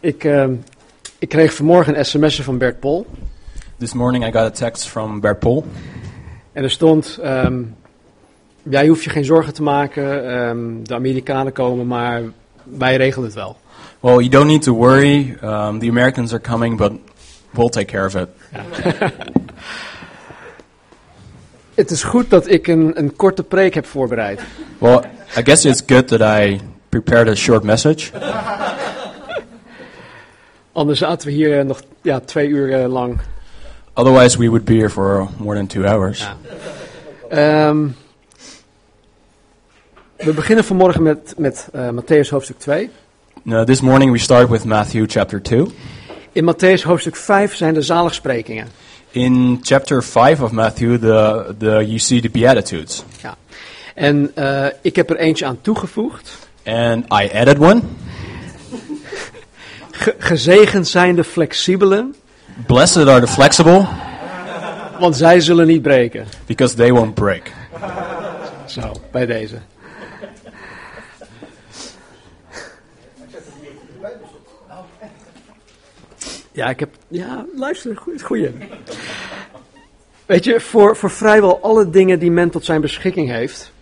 Ik, eh, ik kreeg vanmorgen een sms'je van Bert Pol. This morning I got a text from Bert Pol. En er stond, ehm, jij hoeft je geen zorgen te maken, ehm, de Amerikanen komen, maar wij regelen het wel. Well, you don't need to worry. Um, the Americans are coming, but we'll take care of it. Het is goed dat ik een, een korte preek heb voorbereid. Well, I guess it's good that I prepared a short message. Anders zaten we hier eh, nog ja, twee uur eh, lang. Otherwise, we would be here for more than two hours. Ja. Ehm, we beginnen vanmorgen met, met eh, Matthäus hoofdstuk 2. Now, this morning we start with Matthew chapter 2. In Matthäus hoofdstuk 5 zijn de zaligsprekingen. In chapter 5 of Matthew, the, the, you see the Beatitudes. Ja. En eh, ik heb er eentje aan toegevoegd. And I added one. Ge- gezegend zijn de flexibelen, Blessed are the flexible, want zij zullen niet breken. because they won't break. Zo, bij deze. Ja, ik heb. Ja, luister, goeie. goeie. Weet je, voor, voor vrijwel alle dingen die men tot zijn beschikking heeft,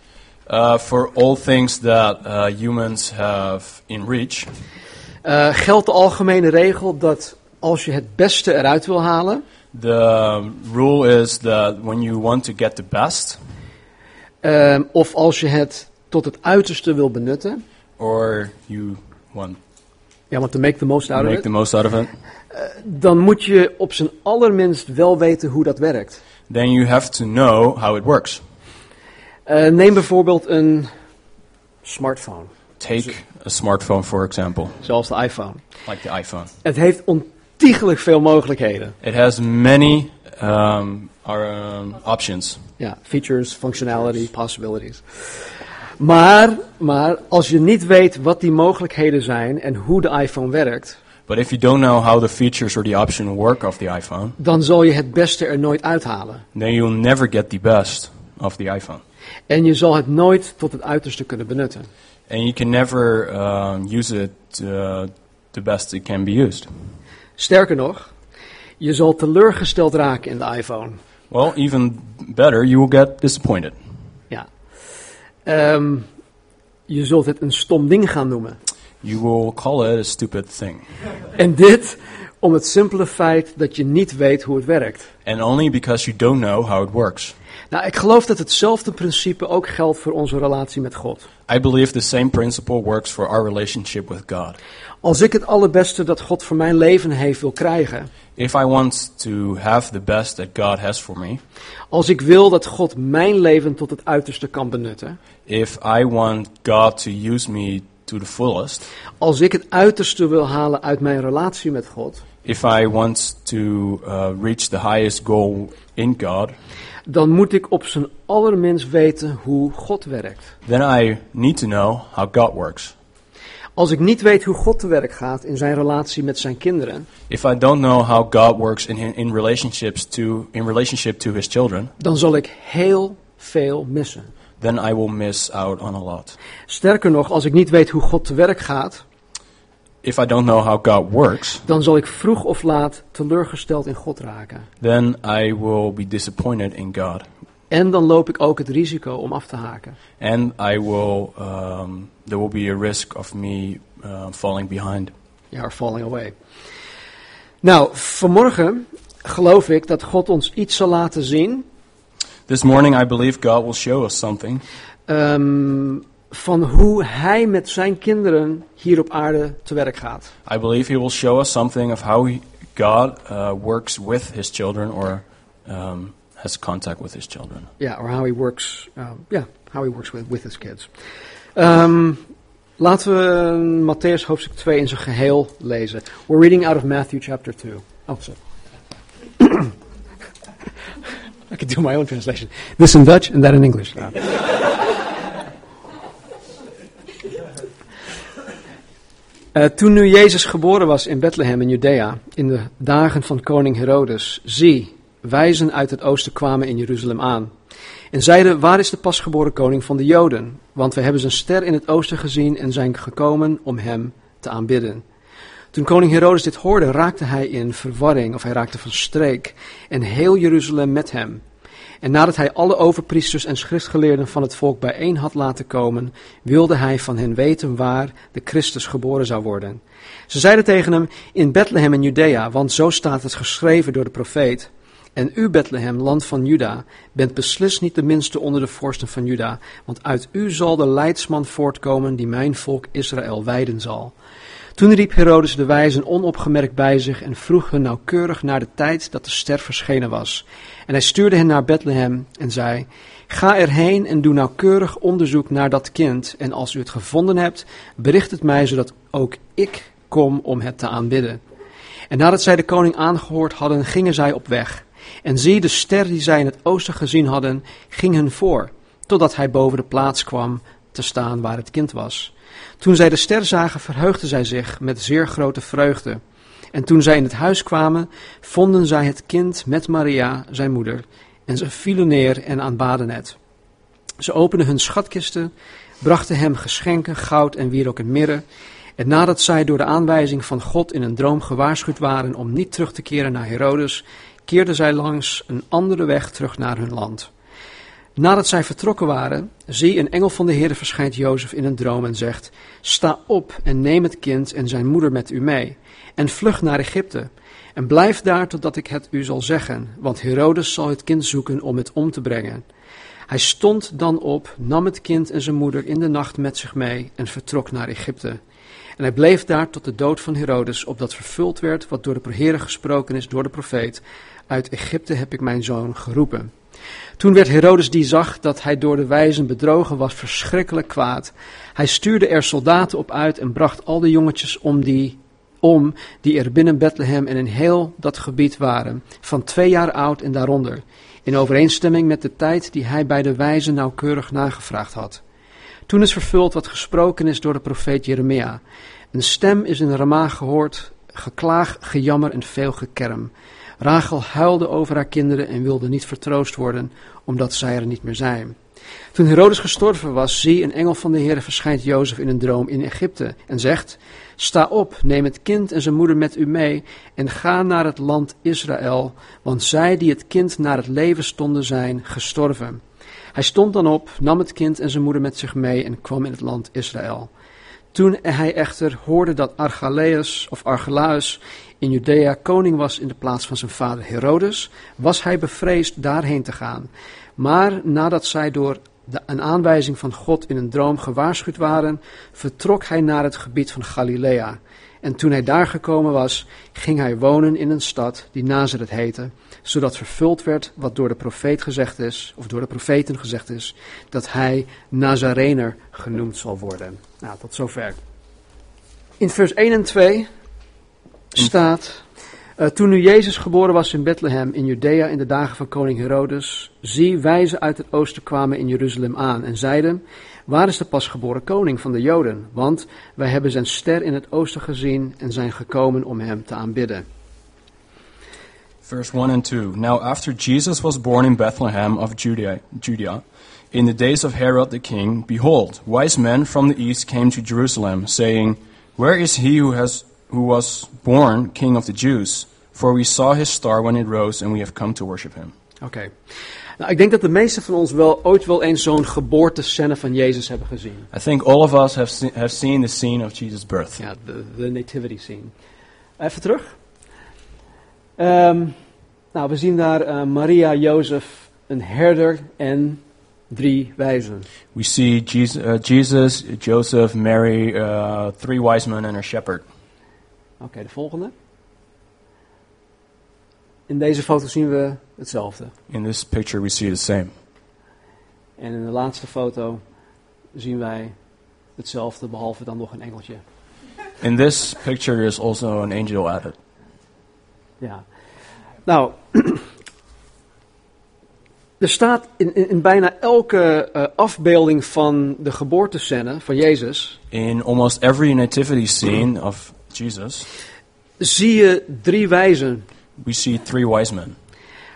Uh, for all things that uh, humans have in reach, eh, geldt de algemene regel dat als je het beste eruit wil halen, the rule is that when you want to get the best, eh, of als je het tot het uiterste wil benutten, or you want ja, want to make the most to out of make it, the most out of it, dan moet je op zijn allerminst wel weten hoe dat werkt. then you have to know how it works. Eh, neem bijvoorbeeld een smartphone, Take a smartphone, for example, zoals de iPhone. like the iPhone. Het heeft ontiegelijk veel mogelijkheden. It has many um, our, um, options, Ja, features, functionality, possibilities. Maar, maar als je niet weet wat die mogelijkheden zijn en hoe de iPhone werkt, but if you don't know how the features or the option work of the iPhone, dan zal je het beste er nooit uithalen. then you'll never get the best of the iPhone. En je zal het nooit tot het uiterste kunnen benutten. And you can never um, use it uh, the best it can be used. Sterker nog, je zal teleurgesteld raken in de iPhone. Well, even better, you will get disappointed. Ja. Ehm, je zult het een stom ding gaan noemen. You will call it a stupid thing. En dit om het simpele feit dat je niet weet hoe het werkt. And only because you don't know how it works. Nou, ik geloof dat hetzelfde principe ook geldt voor onze relatie met God. I believe the same principle works for our relationship with God. Als ik het allerbeste dat God voor mijn leven heeft wil krijgen, If I want to have the best that God has for me, als ik wil dat God mijn leven tot het uiterste kan benutten, if I want God to use me to the fullest, als ik het uiterste wil halen uit mijn relatie met God, if I want to uh, reach the highest goal in God, dan moet ik op zijn allerminst weten hoe God werkt. then I need to know how God works. Als ik niet weet hoe God te werk gaat in zijn relatie met zijn kinderen, If I don't know how God works in, in relationships to in relationship to His children, dan zal ik heel veel missen. then I will miss out on a lot. Sterker nog, als ik niet weet hoe God te werk gaat, If I don't know how God works, dan zal ik vroeg of laat teleurgesteld in God raken. then I will be disappointed in God, En dan loop ik ook het risico om af te haken. and I will um, there will be a risk of me uh, falling behind. Ja, or falling away. Nou, vanmorgen geloof ik dat God ons iets zal laten zien This morning, I believe God will show us something ehm, van hoe Hij met zijn kinderen hier op aarde te werk gaat. I believe he will show us something of how he, God uh, works with his children or um, has contact with his children. Ja, or how He works, ja, yeah, how He works with, with His kids. Ehm, laten we um, Matthäus hoofdstuk 2 in zijn geheel lezen. We're reading out of Matthew chapter 2. Oh, sorry. I could do my own translation. This in Dutch and that in English. Ah. Ja. Eh, toen nu Jezus geboren was in Bethlehem in Judea, in de dagen van koning Herodes, zie, wijzen uit het oosten kwamen in Jeruzalem aan. En zeiden, waar is de pasgeboren koning van de Joden? Want we hebben zijn ster in het oosten gezien en zijn gekomen om hem te aanbidden. Toen koning Herodes dit hoorde, raakte hij in verwarring, of hij raakte van streek, en heel Jeruzalem met hem. En nadat hij alle overpriesters en schriftgeleerden van het volk bijeen had laten komen, wilde hij van hen weten waar de Christus geboren zou worden. Ze zeiden tegen hem, in Bethlehem in Judea, want zo staat het geschreven door de profeet. En u, Bethlehem, land van Juda, bent beslist niet de minste onder de vorsten van Juda, want uit u zal de leidsman voortkomen die mijn volk Israël wijden zal. Toen riep Herodes de wijzen onopgemerkt bij zich en vroeg hun nauwkeurig naar de tijd dat de ster verschenen was. En hij stuurde hen naar Bethlehem en zei: Ga erheen en doe nauwkeurig onderzoek naar dat kind. En als u het gevonden hebt, bericht het mij, zodat ook ik kom om het te aanbidden. En nadat zij de koning aangehoord hadden, gingen zij op weg. En zie, de ster die zij in het oosten gezien hadden, ging hun voor, totdat hij boven de plaats kwam te staan waar het kind was. Toen zij de ster zagen, verheugden zij zich met zeer grote vreugde. En toen zij in het huis kwamen, vonden zij het kind met Maria, zijn moeder, en ze vielen neer en aanbaden het. Ze openden hun schatkisten, brachten hem geschenken, goud en wierook en mirre. En nadat zij door de aanwijzing van God in een droom gewaarschuwd waren om niet terug te keren naar Herodes, keerden zij langs een andere weg terug naar hun land. Nadat zij vertrokken waren, zie een engel van de Heer verschijnt Jozef in een droom en zegt: Sta op en neem het kind en zijn moeder met u mee, en vlug naar Egypte. En blijf daar totdat ik het u zal zeggen, want Herodes zal het kind zoeken om het om te brengen. Hij stond dan op, nam het kind en zijn moeder in de nacht met zich mee en vertrok naar Egypte. En hij bleef daar tot de dood van Herodes, opdat vervuld werd wat door de Heere gesproken is door de profeet: Uit Egypte heb ik mijn zoon geroepen. Toen werd Herodes die zag dat hij door de wijzen bedrogen was verschrikkelijk kwaad. Hij stuurde er soldaten op uit en bracht al de jongetjes om die, om die er binnen Bethlehem en in heel dat gebied waren, van twee jaar oud en daaronder, in overeenstemming met de tijd die hij bij de wijzen nauwkeurig nagevraagd had. Toen is vervuld wat gesproken is door de profeet Jeremia. Een stem is in Rama gehoord, geklaag, gejammer en veel gekerm. Rachel huilde over haar kinderen en wilde niet vertroost worden, omdat zij er niet meer zijn. Toen Herodes gestorven was, zie een engel van de Heer verschijnt Jozef in een droom in Egypte en zegt: Sta op, neem het kind en zijn moeder met u mee en ga naar het land Israël, want zij die het kind naar het leven stonden zijn gestorven. Hij stond dan op, nam het kind en zijn moeder met zich mee en kwam in het land Israël. Toen hij echter hoorde dat Archelaus of Archelaus in Judea koning was in de plaats van zijn vader Herodes, was hij bevreesd daarheen te gaan. Maar nadat zij door de, een aanwijzing van God in een droom gewaarschuwd waren, vertrok hij naar het gebied van Galilea. En toen hij daar gekomen was, ging hij wonen in een stad die Nazareth heette, zodat vervuld werd wat door de profeet gezegd is, of door de profeten gezegd is, dat hij Nazarener genoemd zal worden. Nou, tot zover. In vers 1 en 2 staat. eh, toen nu Jezus geboren was in Bethlehem in Judea in de dagen van koning Herodes, zie wijzen uit het oosten kwamen in Jeruzalem aan en zeiden, waar is de pasgeboren koning van de Joden? Want wij hebben zijn ster in het oosten gezien en zijn gekomen om hem te aanbidden. Verse 1 and 2. Now, after Jesus was born in Bethlehem of Judea, Judea, in the days of Herod the king, behold, wise men from the east came to Jerusalem, saying, Where is he who, has, who was born king of the Jews? For we saw his star when it rose, and we have come to worship him. Oké. Nou, ik denk dat de meesten van ons wel ooit wel eens zo'n geboortescène van Jezus hebben gezien. I think all of us have, se- have seen the scene of Jesus' birth. Ja, de, de nativity scene. Even terug. Ehm, nou, we zien daar eh, Maria, Jozef, een herder en drie wijzen. We see Jesus, uh, Jesus Joseph, Mary, uh, three wise men, and a shepherd. Oké, de volgende. In deze foto zien we hetzelfde. In this picture, we see the same. En in de laatste foto zien wij hetzelfde, behalve dan nog een engeltje. In this picture is also an angel added. Ja. Nou, er staat in, in, in bijna elke eh, afbeelding van de geboortescène van Jezus, In almost every nativity scene of Jesus, zie je drie wijzen. we see three wise men.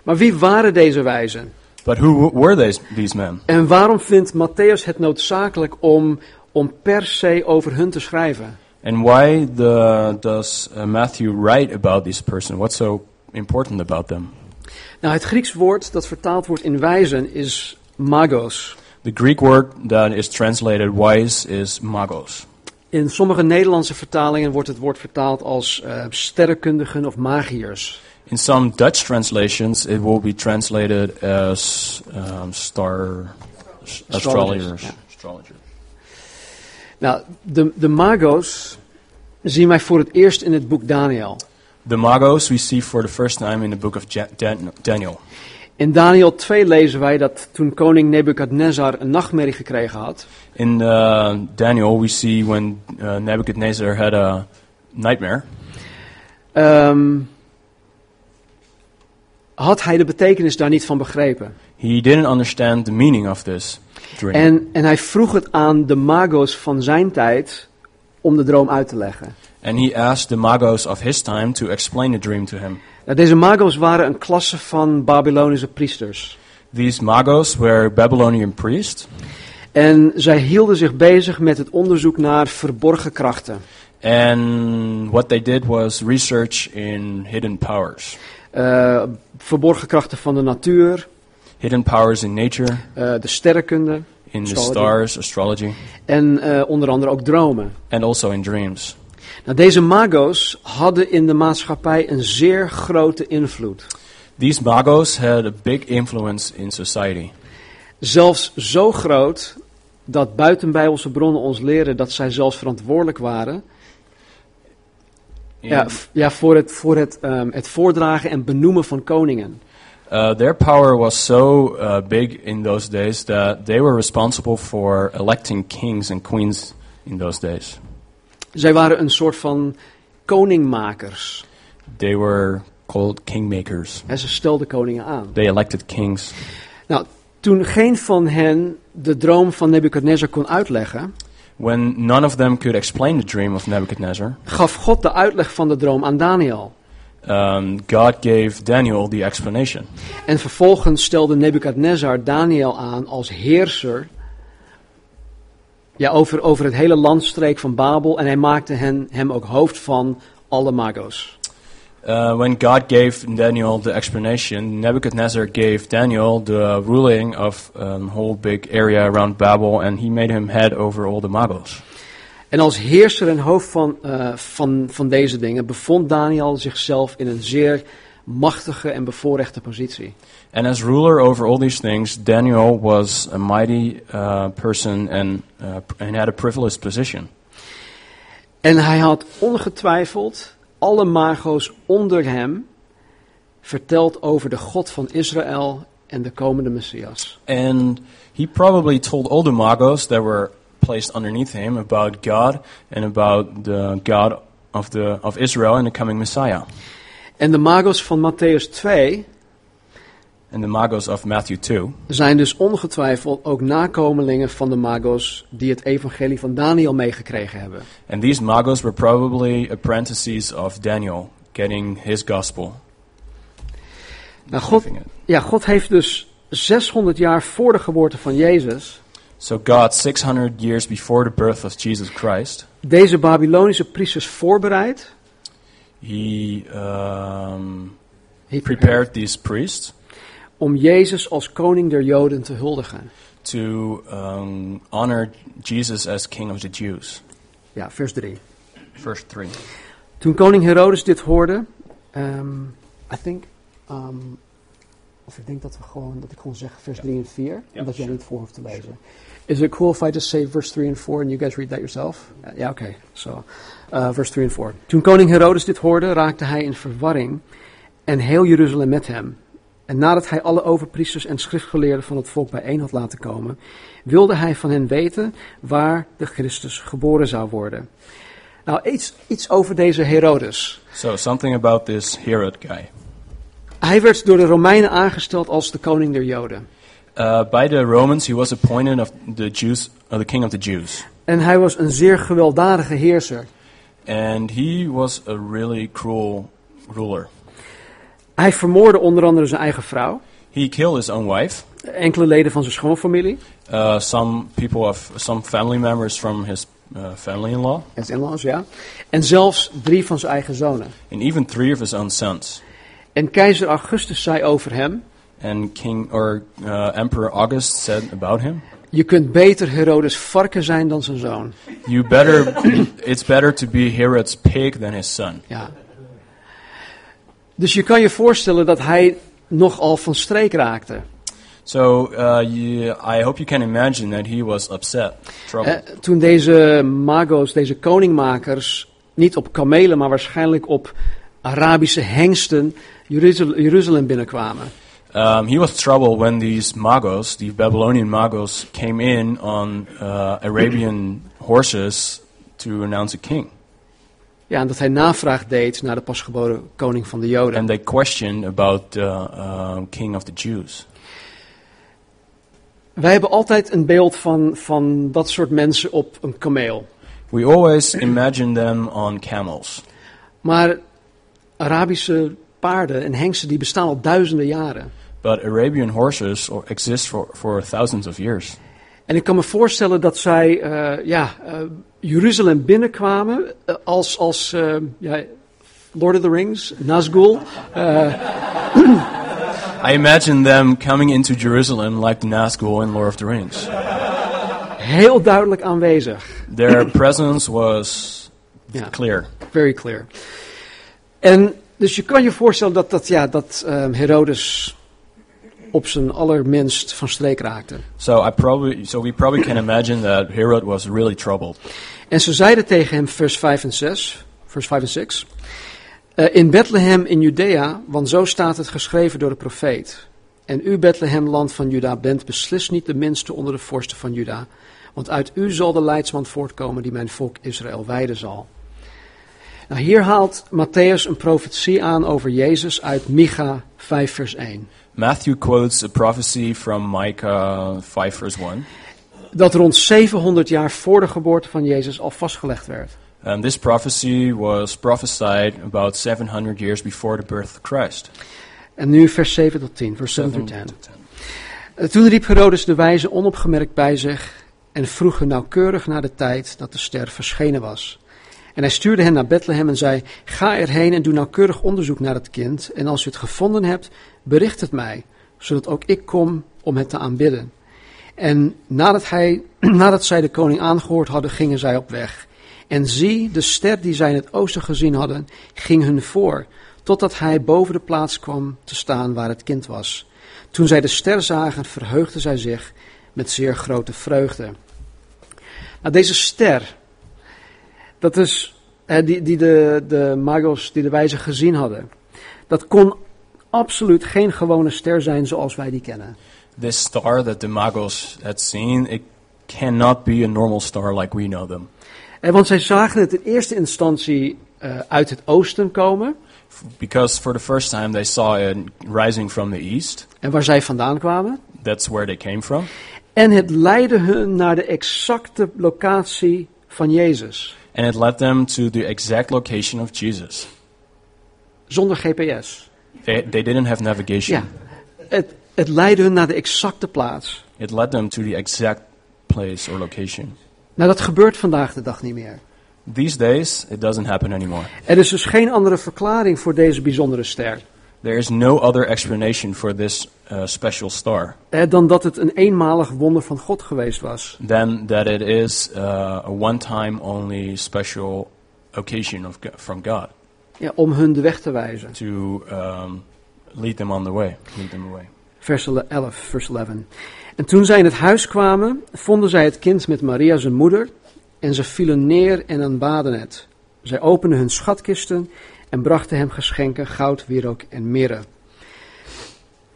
Maar wie waren deze wijzen? But who w- were these, these men? En waarom vindt Matthäus het noodzakelijk om, om per se over hun te schrijven? And why the, does uh, Matthew write about this person? What's so important about them? Nou, het Grieks woord dat vertaald wordt in wijzen is magos. The Greek word that is translated wise is magos. In sommige Nederlandse vertalingen wordt het woord vertaald als eh, sterrenkundigen of magiërs. In some Dutch translations, it will be translated as um, star s- astrologers. Astrologers, yeah. Astrologer. Nou, de, de magos zien wij voor het eerst in het boek Daniel. The magos we see for the first time in the book of Ja- Dan- Daniel. In Daniel 2 lezen wij dat toen koning Nebukadnezar een nachtmerrie gekregen had, In uh, Daniel, we see when uh, Nebuchadnezzar had a nightmare. ehm, had hij de betekenis daar niet van begrepen. He didn't understand the meaning of this dream. En, en hij vroeg het aan de magos van zijn tijd om de droom uit te leggen. And he asked the magos of his time to explain the dream to him. Nou, deze magos waren een klasse van Babylonische priesters. These magos were Babylonian priests, En zij hielden zich bezig met het onderzoek naar verborgen krachten. and what they did was research in hidden powers. Eh, verborgen krachten van de natuur, Hidden powers in nature, eh, de sterrenkunde in the Astrology. stars, astrology, en eh, onder andere ook dromen. and also in dreams. Nou, deze magos hadden in de maatschappij een zeer grote invloed. These magos had a big influence in society. Zelfs zo groot dat buitenbijbelse bronnen ons leren dat zij zelfs verantwoordelijk waren In- ja, f- ja, voor, het, voor het, ehm, het voordragen en benoemen van koningen. Uh, their power was so uh, big in those days that they were responsible for electing kings and queens in those days. Zij waren een soort van koningmakers. They were called kingmakers. Hè, ze stelden koningen aan. They elected kings. Nou, toen geen van hen de droom van Nebukadnezar kon uitleggen, When none of them could explain the dream of Nebuchadnezzar, gaf God de uitleg van de droom aan Daniel. um, God gave Daniel the explanation. En vervolgens stelde Nebukadnezar Daniel aan als heerser ja, over, over het hele landstreek van Babel. En hij maakte hen, hem ook hoofd van alle magos. Uh, when God gave Daniel the explanation, Nebuchadnezzar gave Daniel the ruling of a whole big area around Babel, and he made him head over all the Magos. En als heerser en hoofd van, eh, van, van deze dingen bevond Daniel zichzelf in een zeer machtige en bevoorrechte positie. And as ruler over all these things, Daniel was a mighty uh, person and, uh, p- and had a privileged position. En hij had ongetwijfeld alle mago's onder hem verteld over de God van Israël en de komende Messias. And he probably told all the magos that were placed underneath him about God and about the God of, the, of Israel and the coming Messiah. En de mago's van Matthäus 2 And the magos of Matthew 2 zijn dus ongetwijfeld ook nakomelingen van de mago's die het evangelie van Daniel meegekregen hebben. And these magos were probably apprentices of Daniel, getting his gospel. Nou, God, Receiving it. ja, God heeft dus 600 jaar voor de geboorte van Jezus So God, 600 years before the birth of Jesus Christ, deze Babylonische priesters voorbereid. he um, He prepared these priests Om Jezus als koning der Joden te huldigen. to um, honor Jesus as King of the Jews. Ja, vers 3. Verse 3. Toen koning Herodes dit hoorde, ehm, I think, ehm, of ik denk dat we gewoon, dat ik gewoon zeg vers 3 en 4, Ja, omdat jij sure. niet voor hoeft te lezen. Is it cool if I just say verse 3 and 4 and you guys read that yourself? Ja, ja, oké. So, eh, verse 3 en 4. Toen koning Herodes dit hoorde, raakte hij in verwarring en heel Jeruzalem met hem. En nadat hij alle overpriesters en schriftgeleerden van het volk bijeen had laten komen, wilde hij van hen weten waar de Christus geboren zou worden. Nou, iets, iets over deze Herodes. So something about this Herod guy. Hij werd door de Romeinen aangesteld als de koning der Joden. Uh, by the Romans, he was appointed of the Jews, uh, the King of the Jews, En hij was een zeer gewelddadige heerser. and he was a really cruel ruler. Hij vermoorde onder andere zijn eigen vrouw, He killed his own wife. enkele leden van zijn schoonfamilie. Uh, some people of some family members from his uh, family in law, en zijn in-laws, ja. En zelfs drie van zijn eigen zonen. and even three of his own sons. En keizer Augustus zei over hem: And King or uh, Emperor August said about him, Je kunt beter Herodes varken zijn dan zijn zoon. "You better, it's better to be Herod's pig than his son." Ja. Dus je kan je voorstellen dat hij nogal van streek raakte. So uh, you, I hope you can imagine that he was upset, troubled. Eh, toen deze mago's, deze koningmakers, niet op kamelen, maar waarschijnlijk op Arabische hengsten Jeruzal- Jeruzalem binnenkwamen. Um, he was troubled when these magos, the Babylonian magos, came in on uh, Arabian horses to announce a king, Ja, en dat hij navraag deed naar de pasgeboren koning van de Joden. and they questioned about the um king of the Jews. Wij hebben altijd een beeld van, van dat soort mensen op een kameel. We always imagine them on camels, Maar Arabische paarden en hengsten die bestaan al duizenden jaren. but Arabian horses or, exist for, for thousands of years. En ik kan me voorstellen dat zij eh, ja, eh, Jeruzalem binnenkwamen eh, als, als eh, ja, Lord of the Rings, Nazgul. Eh, I imagine them coming into Jerusalem like the Nazgul in Lord of the Rings. heel duidelijk aanwezig. Their presence was Ja, clear. very clear. En dus je kan je voorstellen dat, dat, ja, dat eh, Herodes op zijn allerminst van streek raakte. So I probably, so we probably can imagine that Herod was really troubled. En ze zeiden tegen hem, vers 5 en 6, vers 5 en 6, eh, in Bethlehem in Judea, want zo staat het geschreven door de profeet. En u, Bethlehem, land van Juda, bent beslist niet de minste onder de vorsten van Juda, want uit u zal de leidsman voortkomen die mijn volk Israël wijden zal. Nou, hier haalt Matthäus een profetie aan over Jezus uit Micha 5 vers 1. Matthew quotes a prophecy from Micah 5 verse 1. Dat rond 700 jaar voor de geboorte van Jezus al vastgelegd werd. And this prophecy was prophesied about 700 years before the birth of Christ. En nu vers 7 tot 10, vers 7 Seven tot 10. to ten. Eh, Toen riep Herodes de wijze onopgemerkt bij zich en vroeg hen nauwkeurig naar de tijd dat de ster verschenen was. En hij stuurde hen naar Bethlehem en zei: Ga erheen en doe nauwkeurig onderzoek naar het kind. En als u het gevonden hebt, bericht het mij, zodat ook ik kom om het te aanbidden. En nadat, hij, nadat zij de koning aangehoord hadden, gingen zij op weg. En zie, de ster die zij in het oosten gezien hadden, ging hun voor, totdat hij boven de plaats kwam te staan waar het kind was. Toen zij de ster zagen, verheugden zij zich met zeer grote vreugde. Nou, deze ster, dat is hè, die, die de, de magos, die de wijzen gezien hadden, dat kon absoluut geen gewone ster zijn zoals wij die kennen. This star that the Magos had seen, it cannot be a normal star like we know them. Hè, Eh, want zij zagen het in eerste instantie eh, uit het oosten komen, F- Because for the first time they saw it rising from the east. en waar zij vandaan kwamen, That's where they came from. en het leidde hun naar de exacte locatie van Jezus, And it led them to the exact location of Jesus. zonder GPS. They, they didn't have navigation. Ja, het, het leidde hun naar de exacte plaats. It led them to the exact place or location. Nou, dat gebeurt vandaag de dag niet meer. These days, it doesn't happen anymore. Er is dus geen andere verklaring voor deze bijzondere ster There is no other explanation for this uh, special star hè, eh, dan dat het een eenmalig wonder van God geweest was. than that it is uh, a one time only special occasion of, Go- from God Ja, om hun de weg te wijzen. to um, lead them on the way. Lead them away. Vers 11, vers 11. En toen zij in het huis kwamen, vonden zij het kind met Maria zijn moeder en ze vielen neer en aanbaden het. Zij openden hun schatkisten en brachten hem geschenken, goud, wierook en mirre.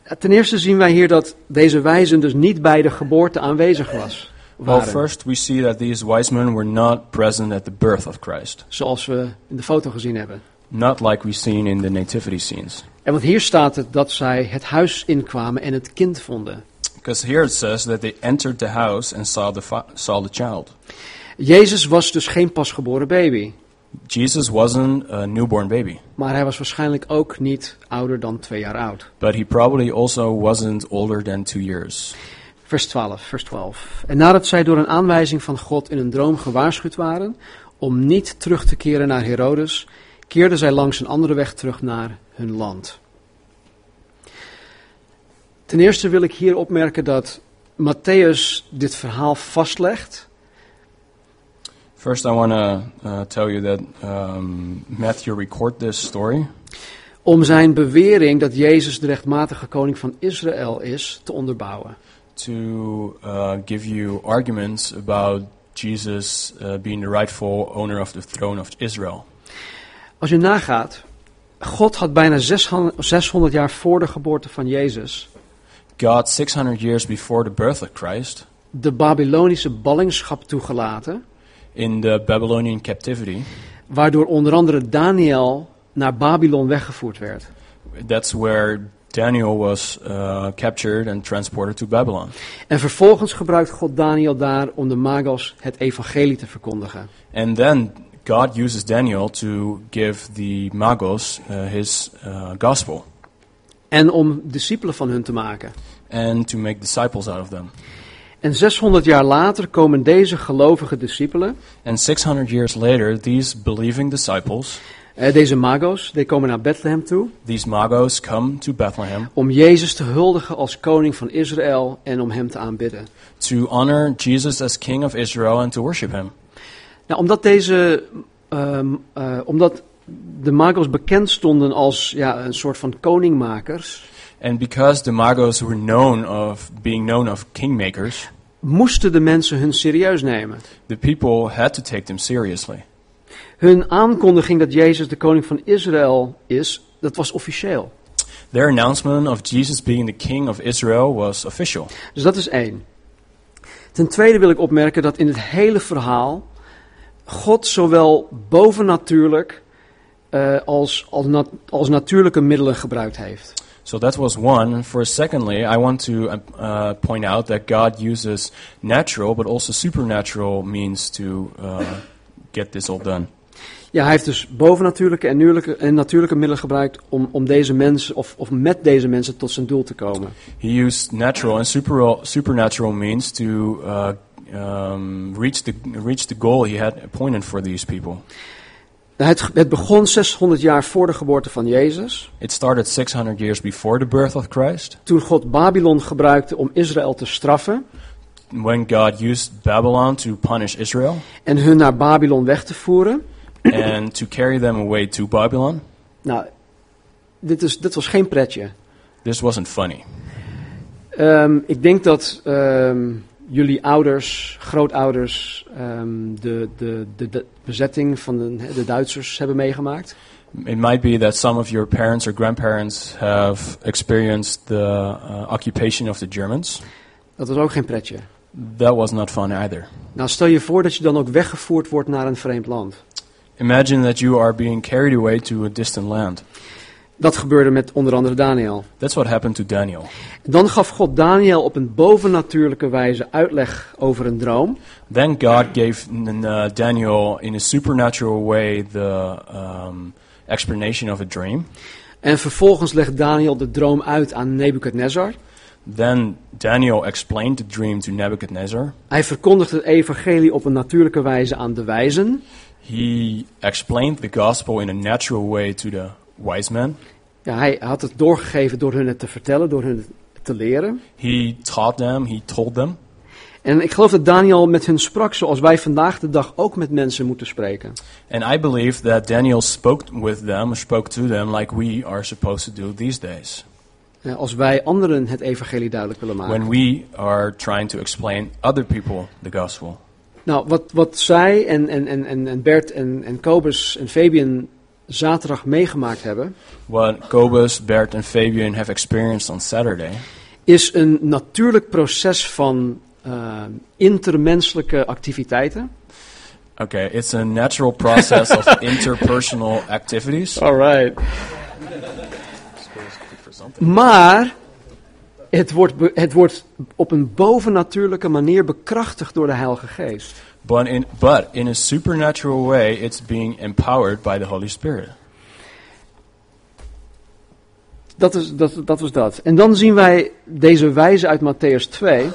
Eh, Ten eerste zien wij hier dat deze wijzen dus niet bij de geboorte aanwezig was, Well, waren, first, we see that these wise men were not present at the birth of Christ, zoals we in de foto gezien hebben. not like we've seen in the nativity scenes. En want hier staat het dat zij het huis inkwamen en het kind vonden. Because here it says that they entered the house and saw the, fa- saw the child. Jezus was dus geen pasgeboren baby. Jesus wasn't a newborn baby, Maar hij was waarschijnlijk ook niet ouder dan twee jaar oud. but he probably also wasn't older than two years. Vers 12, vers 12. En nadat zij door een aanwijzing van God in een droom gewaarschuwd waren om niet terug te keren naar Herodes, keerden zij langs een andere weg terug naar hun land. Ten eerste wil ik hier opmerken dat Matthäus dit verhaal vastlegt. First, I want to uh, tell you that um, Matthew record this story om zijn bewering dat Jezus de rechtmatige koning van Israël is te onderbouwen. to uh, give you arguments about Jesus uh, being the rightful owner of the throne of Israel. Als je nagaat, God had bijna 600 600 jaar voor de geboorte van Jezus God, 600 years before the birth of Christ, de Babylonische ballingschap toegelaten, in the Babylonian captivity, waardoor onder andere Daniel naar Babylon weggevoerd werd. that's where Daniel was uh, captured and transported to Babylon. En vervolgens gebruikt God Daniel daar om de Magos het evangelie te verkondigen. And then God uses Daniel to give the Magos uh, his uh, gospel En om discipelen van hun te maken. and to make disciples out of them. En 600 jaar later komen deze gelovige discipelen, And 600 years later, these believing disciples, eh, deze Magos, die komen naar Bethlehem toe. these Magos, come to Bethlehem om Jezus te huldigen als koning van Israël en om hem te aanbidden. to honor Jesus as King of Israel and to worship him. Nou, omdat, deze, ehm, eh, omdat de Magos bekend stonden als ja, een soort van koningmakers, And because the Magos were known of being known of kingmakers, moesten de mensen hun serieus nemen. the people had to take them seriously. Hun aankondiging dat Jezus de koning van Israël is, dat was officieel. Their announcement of Jesus being the king of Israel was official. Dus dat is één. Ten tweede wil ik opmerken dat in het hele verhaal God zowel bovennatuurlijk eh, als, als, nat- als natuurlijke middelen gebruikt heeft. So that was one. And For secondly, I want to uh, uh, point out that God uses natural but also supernatural means to uh, get this all done. Ja, hij heeft dus bovennatuurlijke en, nuurlijke, en natuurlijke middelen gebruikt om, om deze mensen, of, of met deze mensen tot zijn doel te komen. He used natural and super, supernatural means to uh, um, reach the reach the goal he had appointed for these people. Het, het begon 600 jaar voor de geboorte van Jezus, It started 600 years before the birth of Christ, toen God Babylon gebruikte om Israël te straffen when God used Babylon to punish Israel en hun naar Babylon weg te voeren. and to carry them away to Babylon. Nou, dit, is, dit was geen pretje. This wasn't funny. Ehm, ik denk dat ehm, jullie ouders, grootouders, ehm, de, de, de, de bezetting van de, de Duitsers hebben meegemaakt. It might be that some of your parents or grandparents have experienced the uh, occupation of the Germans. Dat was ook geen pretje. That was not fun either. Nou, stel je voor dat je dan ook weggevoerd wordt naar een vreemd land. Imagine that you are being carried away to a distant land. Dat gebeurde met onder andere Daniel. That's what happened to Daniel. Dan gaf God Daniel op een bovennatuurlijke wijze uitleg over een droom. Then God gave n- uh, Daniel, in a supernatural way, the um, explanation of a dream. En vervolgens legt Daniel de droom uit aan Nebukadnezar. Then Daniel explained the dream to Nebuchadnezzar. Hij verkondigt het evangelie op een natuurlijke wijze aan de wijzen. He explained the gospel in a natural way to the wise men. Ja, hij had het doorgegeven door hun het te vertellen, door hun het te leren. He taught them, he told them. En ik geloof dat Daniel met hun sprak zoals wij vandaag de dag ook met mensen moeten spreken. And I believe that Daniel spoke with them, spoke to them like we are supposed to do these days Eh, Als wij anderen het evangelie duidelijk willen maken. when we are trying to explain other people the gospel. Nou, wat, wat zij en, en, en- en, en Bert en, en Kobus en Fabian zaterdag meegemaakt hebben, What Cobus, Bert, and Fabian have experienced on Saturday is een natuurlijk proces van eh, intermenselijke activiteiten. Okay, it's a natural process of interpersonal activities. Alright. Maar het wordt, be- het wordt op een bovennatuurlijke manier bekrachtigd door de Heilige Geest. But in but in a supernatural way, it's being empowered by the Holy Spirit. Dat, is, dat, dat was dat. En dan zien wij deze wijze uit Matthäus 2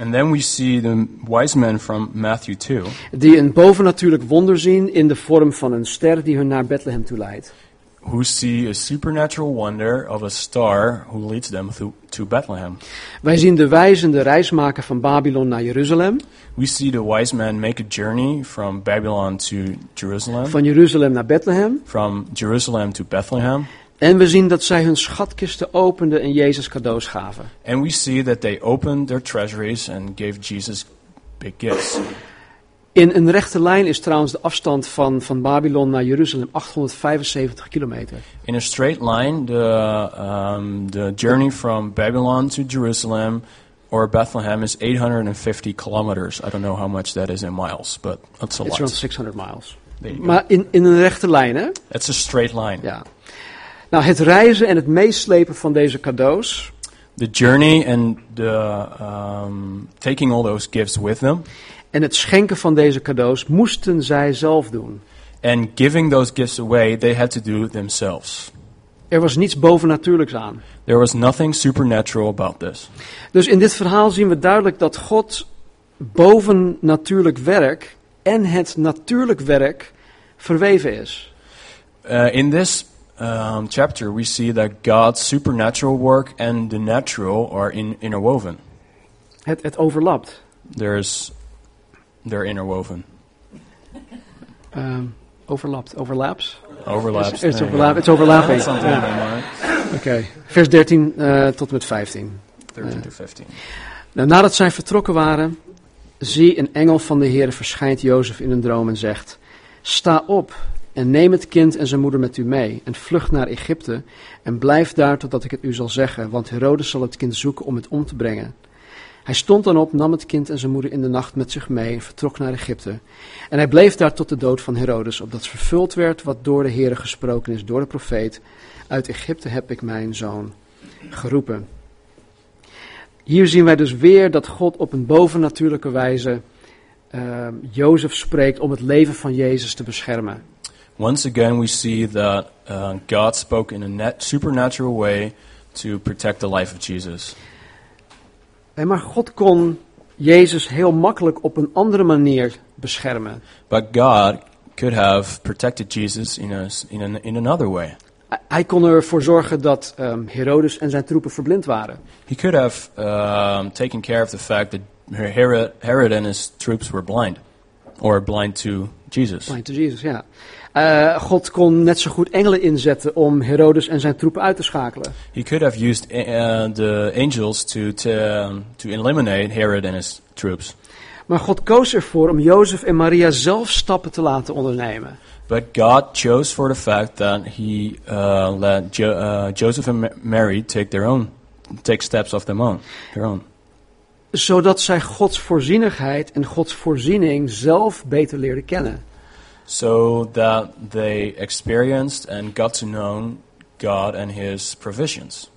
And then we see the wise men from Matthew 2 die een bovennatuurlijk wonder zien in de vorm van een ster die hun naar Bethlehem toe leidt. who see a supernatural wonder of a star who leads them through, to Bethlehem. Wij zien de wijzen de reis maken van Babylon naar Jeruzalem, We see the wise men make a journey from Babylon to Jerusalem, van Jeruzalem naar Bethlehem. from Jerusalem to Bethlehem, En we zien dat zij hun schatkisten openden en Jezus cadeaus gaven. and we see that they opened their treasuries and gave Jesus big gifts. In een rechte lijn is trouwens de afstand van, van Babylon naar Jeruzalem 875 kilometer. In a straight line, the, um, the journey from Babylon to Jerusalem or Bethlehem is 850 kilometers. I don't know how much that is in miles, but that's a It's around lot. 600 miles. There you go. Maar in, in een rechte lijn, hè? It's a straight line. Ja. Nou, het reizen en het meeslepen van deze cadeaus The journey and the, um, taking all those gifts with them en het schenken van deze cadeaus moesten zij zelf doen. and giving those gifts away, they had to do it themselves. Er was niets bovennatuurlijks aan. There was nothing supernatural about this. Dus in dit verhaal zien we duidelijk dat God bovennatuurlijk werk en het natuurlijk werk verweven is. Uh, in this um, chapter, we see that God's supernatural work and the natural are in, interwoven. Het, het overlapt. There's, they're interwoven, Ehm, overlapt, overlaps. overlaps. Het is There you overlap, go. it's overlapping. Something Ja, in my mind. Oké, vers 13 eh, tot en met 15. 13 to 15. Nou, nadat zij vertrokken waren, zie een engel van de Heer verschijnt Jozef in een droom en zegt: Sta op en neem het kind en zijn moeder met u mee en vlucht naar Egypte en blijf daar totdat ik het u zal zeggen, want Herodes zal het kind zoeken om het om te brengen. Hij stond dan op, nam het kind en zijn moeder in de nacht met zich mee en vertrok naar Egypte. En hij bleef daar tot de dood van Herodes, opdat vervuld werd wat door de Heere gesproken is door de profeet: Uit Egypte heb ik mijn zoon geroepen. Hier zien wij dus weer dat God op een bovennatuurlijke wijze ehm, Jozef spreekt om het leven van Jezus te beschermen. Once again, we see that uh, God spoke in a net supernatural way to protect the life of Jesus. Hé, maar God kon Jezus heel makkelijk op een andere manier beschermen. But God could have protected Jesus in, a, in, an, in another way. Hij- Hij kon ervoor zorgen dat ehm, Herodes en zijn troepen verblind waren. He could have um, taken care of the fact that Her- Herod, Herod and his troops were blind, or blind to Jesus. Blind to Jesus, ja. Eh, God kon net zo goed engelen inzetten om Herodes en zijn troepen uit te schakelen. He could have used uh, the angels to, to, um, to eliminate Herod and his troops. Maar God koos ervoor om Jozef en Maria zelf stappen te laten ondernemen. But God chose for the fact that He uh, let jo- uh, Joseph and Ma- Mary take their own, take steps of them own, their own, zodat zij Gods voorzienigheid en Gods voorziening zelf beter leerden kennen. so that they experienced and got to know God and His provisions.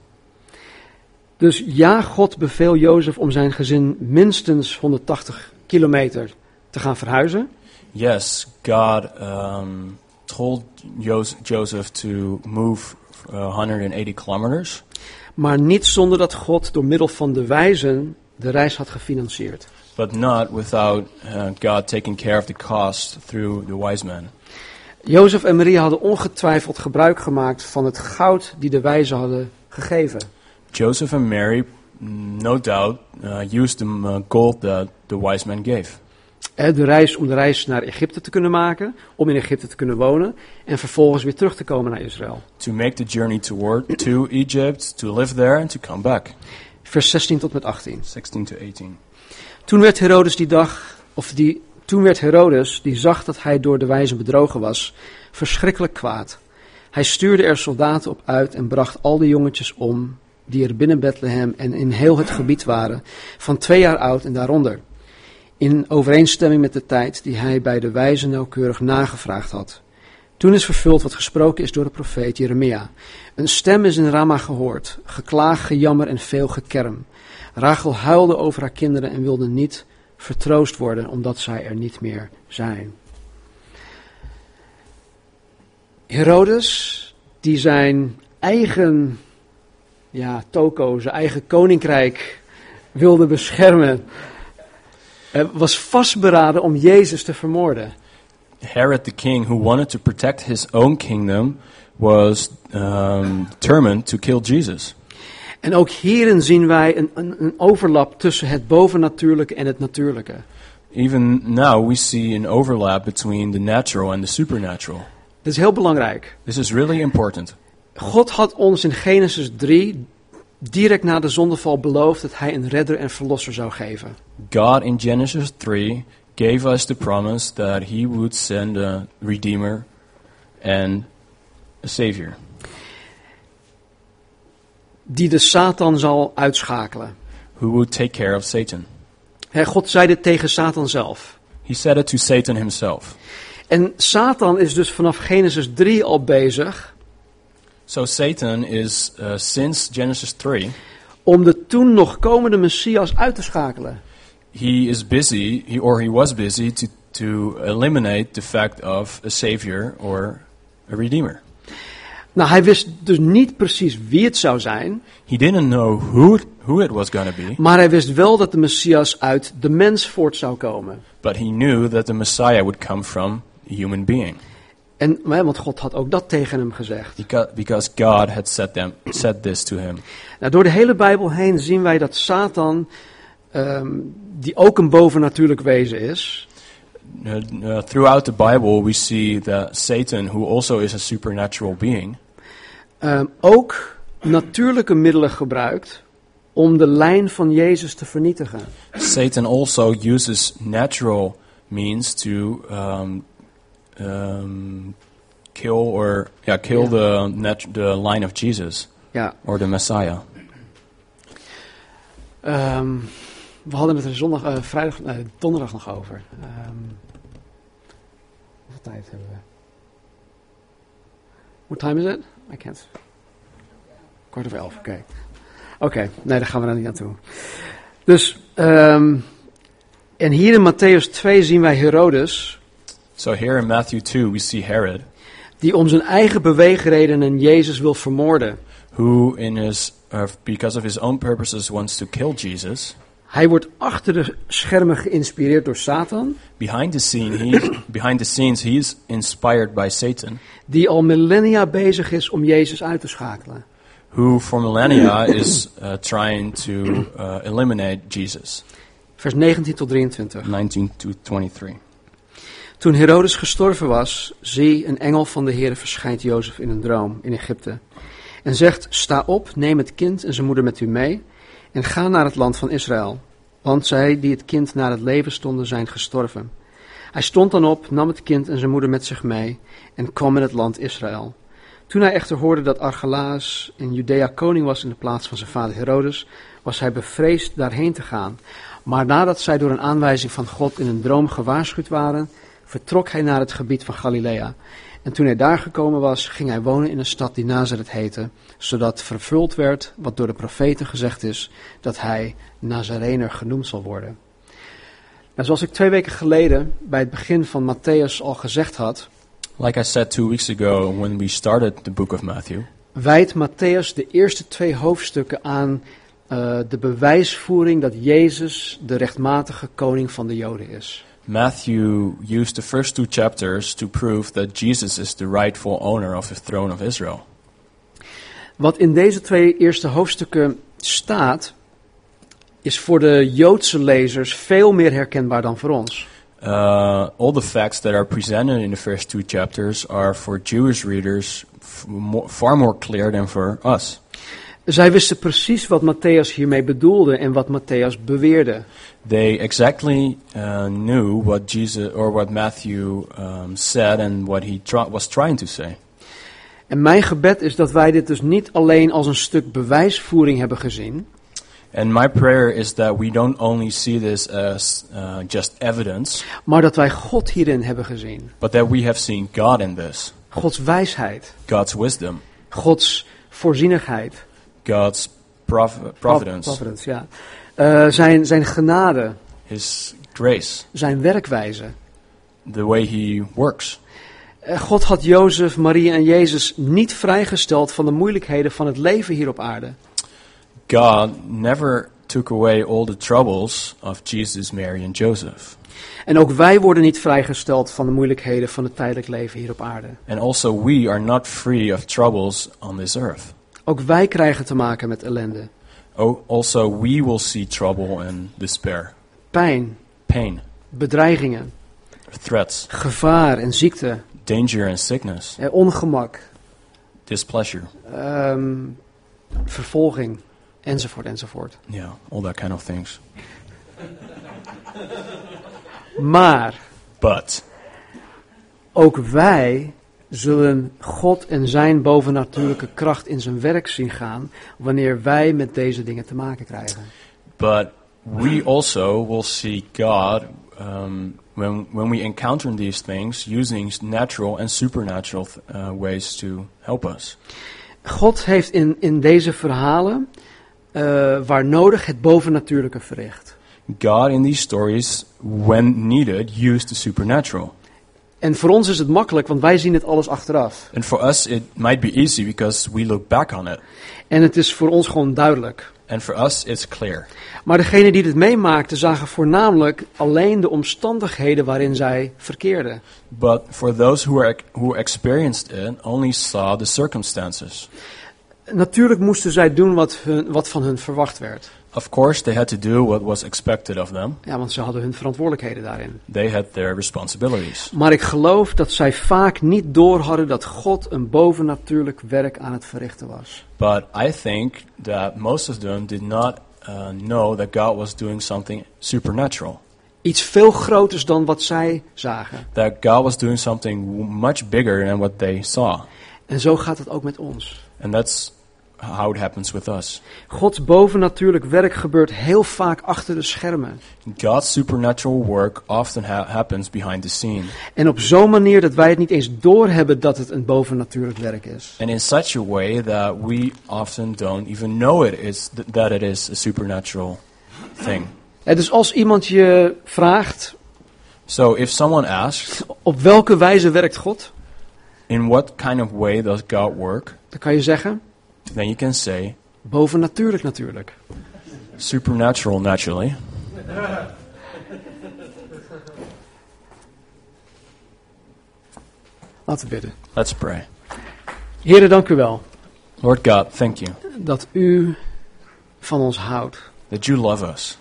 Dus ja, God beveel Jozef om zijn gezin minstens 180 kilometer te gaan verhuizen. Yes, God um, told Jos- Joseph to move uh, 180 kilometers, Maar niet zonder dat God door middel van de wijzen de reis had gefinancierd. but not without uh, God taking care of the cost through the wise men. Jozef en Maria hadden ongetwijfeld gebruik gemaakt van het goud die de wijzen hadden gegeven. Joseph and Mary, no doubt, uh, used the uh, gold that the wise men gave Hè, De reis om de reis naar Egypte te kunnen maken, om in Egypte te kunnen wonen en vervolgens weer terug te komen naar Israël. to make the journey toward to Egypt, to live there, and to come back. Vers 16 tot met 18. 16 to 18. Toen werd Herodes die dag, of die, toen werd Herodes, die zag dat hij door de wijzen bedrogen was, verschrikkelijk kwaad. Hij stuurde er soldaten op uit en bracht al de jongetjes om, die er binnen Bethlehem en in heel het gebied waren, van twee jaar oud en daaronder. In overeenstemming met de tijd die hij bij de wijzen nauwkeurig nagevraagd had. Toen is vervuld wat gesproken is door de profeet Jeremia. Een stem is in Rama gehoord, geklaag, gejammer en veel gekerm. Rachel huilde over haar kinderen en wilde niet vertroost worden, omdat zij er niet meer zijn. Herodes, die zijn eigen ja, toko, zijn eigen koninkrijk wilde beschermen. Hij was vastberaden om Jezus te vermoorden. Herod the king, who wanted to protect his own kingdom, was um, determined to kill Jesus. En ook hierin zien wij een, een, een overlap tussen het bovennatuurlijke en het natuurlijke. Even now, we see an overlap between the natural and the supernatural. Dat is heel belangrijk. This is really important. God had ons in Genesis 3 direct na de zondeval beloofd dat hij een redder en verlosser zou geven. God in Genesis 3 gave us the promise that he would send a redeemer and a savior Die de Satan zal uitschakelen. who would take care of Satan. Hè, God zei dit tegen Satan zelf. He said it to Satan himself. En Satan is dus vanaf Genesis 3 al bezig So Satan is uh, since Genesis 3, om de toen nog komende Messias uit te schakelen. he is busy he, or he was busy to to eliminate the fact of a savior or a redeemer. Nou, hij wist dus niet precies wie het zou zijn, He didn't know who it, who it was going to be, maar hij wist wel dat de Messias uit de mens voort zou komen. but he knew that the Messiah would come from a human being En, hè, want God had ook dat tegen hem gezegd. because, because God had said them said this to him. Nou, door de hele Bijbel heen zien wij dat Satan, ehm, die ook een bovennatuurlijk wezen is, Uh, uh, throughout the Bible, we see that Satan, who also is a supernatural being, ehm, ook natuurlijke middelen gebruikt om de lijn van Jezus te vernietigen. Satan also uses natural means to um, um, kill or yeah kill Yeah. the nat- the line of Jesus Ja, or the Messiah. ehm, we hadden het er zondag, eh, vrijdag, nee, donderdag nog over. Ehm, hoeveel tijd hebben we? What time is it? I can't. Kwart over elf, oké. Oké, nee, daar gaan we dan niet naartoe. Dus, ehm, en hier in Matthäus 2 zien wij Herodes, So here in Matthew two, we see Herod, die om zijn eigen beweegredenen Jezus wil vermoorden. who in his uh, because of his own purposes wants to kill Jesus. Hij wordt achter de schermen geïnspireerd door Satan, Behind the scene, he behind the scenes, he's inspired by Satan, die al millennia bezig is om Jezus uit te schakelen. who for millennia is uh, trying to uh, eliminate Jesus. Vers 19 tot 23. Nineteen to twenty-three. Toen Herodes gestorven was, zie, een engel van de Heere verschijnt Jozef in een droom in Egypte. En zegt, sta op, neem het kind en zijn moeder met u mee en ga naar het land van Israël. Want zij die het kind naar het leven stonden, zijn gestorven. Hij stond dan op, nam het kind en zijn moeder met zich mee en kwam in het land Israël. Toen hij echter hoorde dat Archelaus in Judea koning was in de plaats van zijn vader Herodes, was hij bevreesd daarheen te gaan. Maar nadat zij door een aanwijzing van God in een droom gewaarschuwd waren, vertrok hij naar het gebied van Galilea. En toen hij daar gekomen was, ging hij wonen in een stad die Nazareth heette, zodat vervuld werd wat door de profeten gezegd is, dat hij Nazarener genoemd zal worden. Nou, zoals ik twee weken geleden bij het begin van Matthäus al gezegd had, Like I said two weeks ago when we started the book of Matthew, wijdt Matthäus de eerste twee hoofdstukken aan eh, de bewijsvoering dat Jezus de rechtmatige koning van de Joden is. Matthew used the first two chapters to prove that Jesus is the rightful owner of the throne of Israel. Wat in deze twee eerste hoofdstukken staat, is voor de Joodse lezers veel meer herkenbaar dan voor ons. Uh, all the facts that are presented in the first two chapters are for Jewish readers f- more, far more clear than for us. Zij wisten precies wat Matthäus hiermee bedoelde en wat Matthäus beweerde. They exactly uh, knew what Jesus or what Matthew um, said and what he tr- was trying to say. En mijn gebed is dat wij dit dus niet alleen als een stuk bewijsvoering hebben gezien, And my prayer is that we don't only see this as uh, just evidence, maar dat wij God hierin hebben gezien. but that we have seen God in this Gods wijsheid, God's wisdom, Gods voorzienigheid. God's prov- providence, Providence, ja. Eh, zijn, zijn genade, His grace, zijn werkwijze. the way He works. Eh, God had Jozef, Maria en Jezus niet vrijgesteld van de moeilijkheden van het leven hier op aarde. God never took away all the troubles of Jesus, Mary, and Joseph. En ook wij worden niet vrijgesteld van de moeilijkheden van het tijdelijk leven hier op aarde. And also, we are not free of troubles on this earth. Ook wij krijgen te maken met ellende, Oh, also, we will see trouble and despair, pijn, pain, bedreigingen, threats, gevaar en ziekte, danger, and sickness, eh, ongemak, displeasure. ehm, vervolging, enzovoort, enzovoort. Yeah, all that kind of things. Maar But ook wij zullen God en zijn bovennatuurlijke kracht in zijn werk zien gaan wanneer wij met deze dingen te maken krijgen. But we also will see God um, when, when we encounter these things using s- natural and supernatural th- uh, ways to help us. God heeft in, in deze verhalen eh, waar nodig het bovennatuurlijke verricht. God, in these stories, when needed, used the supernatural. En voor ons is het makkelijk, want wij zien het alles achteraf. And for us, it might be easy because we look back on it. En het is voor ons gewoon duidelijk. And for us, it's clear. Maar degenen die dit meemaakten zagen voornamelijk alleen de omstandigheden waarin zij verkeerden. But for those who, are, ex- who experienced it, only saw the circumstances. Natuurlijk moesten zij doen wat, hun, wat van hun verwacht werd. Of course, they had to do what was expected of them. Ja, want ze hadden hun verantwoordelijkheden daarin. They had their responsibilities. Maar ik geloof dat zij vaak niet door hadden dat God een bovennatuurlijk werk aan het verrichten was. But I think that most of them did not uh, know that God was doing something supernatural, Iets veel groters dan wat zij zagen. that God was doing something w- much bigger than what they saw. En zo gaat het ook met ons. And that's how it happens with us. Gods bovennatuurlijk werk gebeurt heel vaak achter de schermen. God's supernatural work often ha- happens behind the scene, En op zo'n manier dat wij het niet eens doorhebben dat het een bovennatuurlijk werk is. and in such a way that we often don't even know it is th- that it is a supernatural thing. Hè, dus als iemand je vraagt, So if someone asks, op welke wijze werkt God? in what kind of way does God work, Dan kan je zeggen, then you can say, bovennatuurlijk natuurlijk. supernatural naturally. Laten we bidden. Let's pray. Heren, dank u wel Lord God, thank you dat u van ons houdt. that you love us,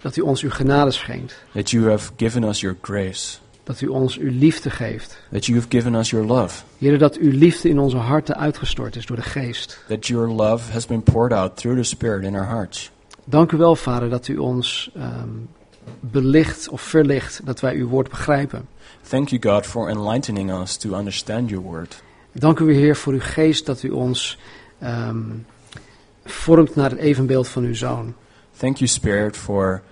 Dat u ons uw genade schenkt. that you have given us your grace, Dat u ons uw liefde geeft. that you have given us your love, Heren, dat uw liefde in onze harten uitgestort is door de geest. that your love has been poured out through the Spirit in our hearts. Dank u wel, Vader, dat u ons ehm, belicht of verlicht dat wij uw woord begrijpen. Thank you, God, for enlightening us to understand your word. Dank u, Heer, voor uw geest dat u ons ehm, vormt naar het evenbeeld van uw zoon. Thank you, Spirit, for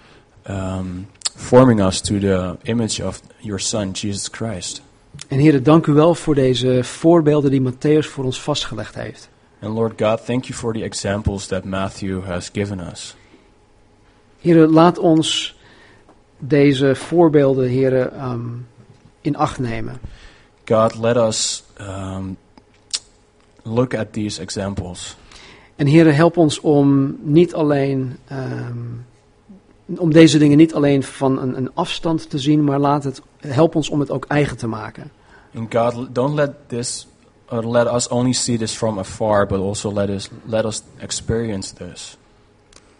um, forming us to the image of your Son, Jesus Christ. En Heer, dank u wel voor deze voorbeelden die Matthäus voor ons vastgelegd heeft. And Lord God, thank you for the examples that Matthew has given us. Heer, laat ons deze voorbeelden, Heer, ehm, in acht nemen. God, let us um, look at these examples. En heren, help ons om niet alleen. ehm, om deze dingen niet alleen van een, een afstand te zien, maar laat het, help ons om het ook eigen te maken. And God, l- don't let this, or let us only see this from afar, but also let us let us experience this.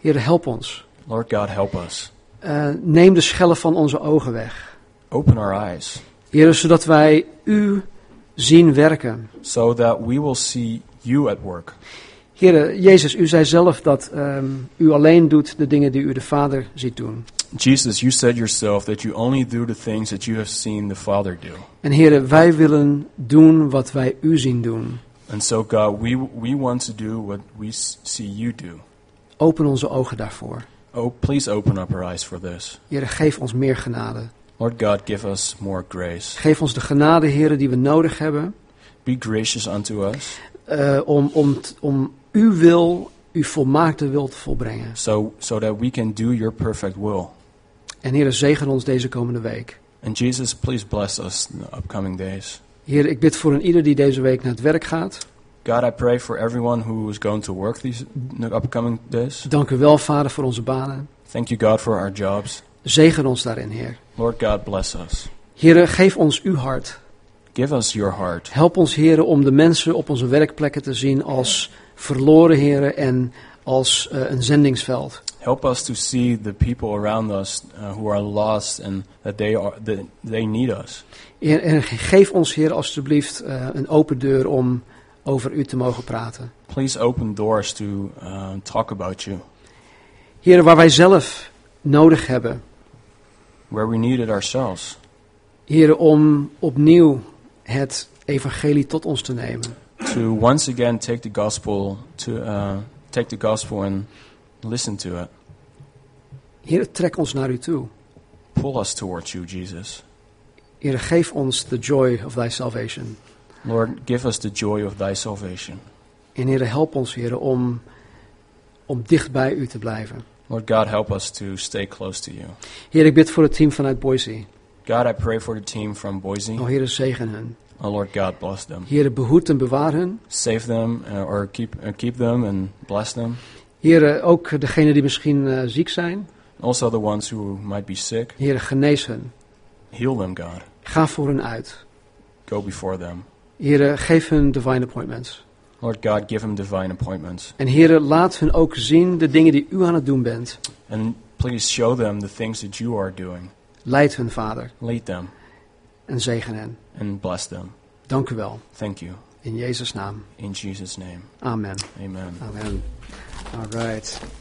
Heren, help ons. Lord God, help us. Eh, neem de schellen van onze ogen weg. Open our eyes Heren, zodat wij u zien werken. so that we will see you at work. Heren, Jezus, u zei zelf dat ehm, u alleen doet de dingen die u de Vader ziet doen. Jesus, you said yourself that you only do the things that you have seen the Father do. En heren, wij willen doen wat wij u zien doen. And so, God, we we want to do what we s- see you do. Open onze ogen daarvoor. Oh, please open up our eyes for this. Heren, geef ons meer genade. Lord God, give us more grace. Geef ons de genade, heren, die we nodig hebben Be gracious unto us eh, om, om, t- om uw wil, uw volmaakte wil te volbrengen. so so that we can do your perfect will. En heren, zegen ons deze komende week. And Jesus, please bless us in the upcoming days. Heer, ik bid voor een ieder die deze week naar het werk gaat. God, I pray for everyone who is going to work these the upcoming days. Dank u wel, Vader, voor onze banen. Thank you, God, for our jobs. Zegen ons daarin, Heer. Lord God, bless us. Heren, geef ons uw hart. Give us your heart. Help ons, heren, om de mensen op onze werkplekken te zien als verloren, heren, en als eh, een zendingsveld. Help us to see the people around us uh, who are lost and that they are that they need us. Heer, en geef ons, heren, alstublieft eh, een open deur om over u te mogen praten. Please open doors to uh, talk about you Heren, waar wij zelf nodig hebben, where we need it ourselves. heren, om opnieuw het evangelie tot ons te nemen. To once again take the gospel to uh, take the gospel and listen to it. Heren, trek ons naar u toe. Pull us towards you, Jesus. Heren, geef ons the joy of thy salvation. Lord, give us the joy of thy salvation. En heren, help ons, heren, om, om dicht bij u te blijven. Lord God, help us to stay close to you. Heer, ik bid voor het team vanuit Boise. God, I pray for the team from Boise. O Heer, zegen hen. Oh, Lord God, bless them. Heer, behoed en bewaar hen. Save them uh, or keep uh, keep them and bless them. Heer, ook degenen die misschien eh, ziek zijn. Also the ones who might be sick, Heer, genees hen. heal them, God. Ga voor hen uit. Go before them. Heer, geef hun divine appointments. Lord God, give them divine appointments. En Heer, laat hun ook zien de dingen die u aan het doen bent. And please show them the things that you are doing. Leid hun, Vader, Lead them en zegen hen. and bless them. Dank u wel. Thank you. In Jezus' naam. In Jesus' name. Amen. Amen. Amen. All right.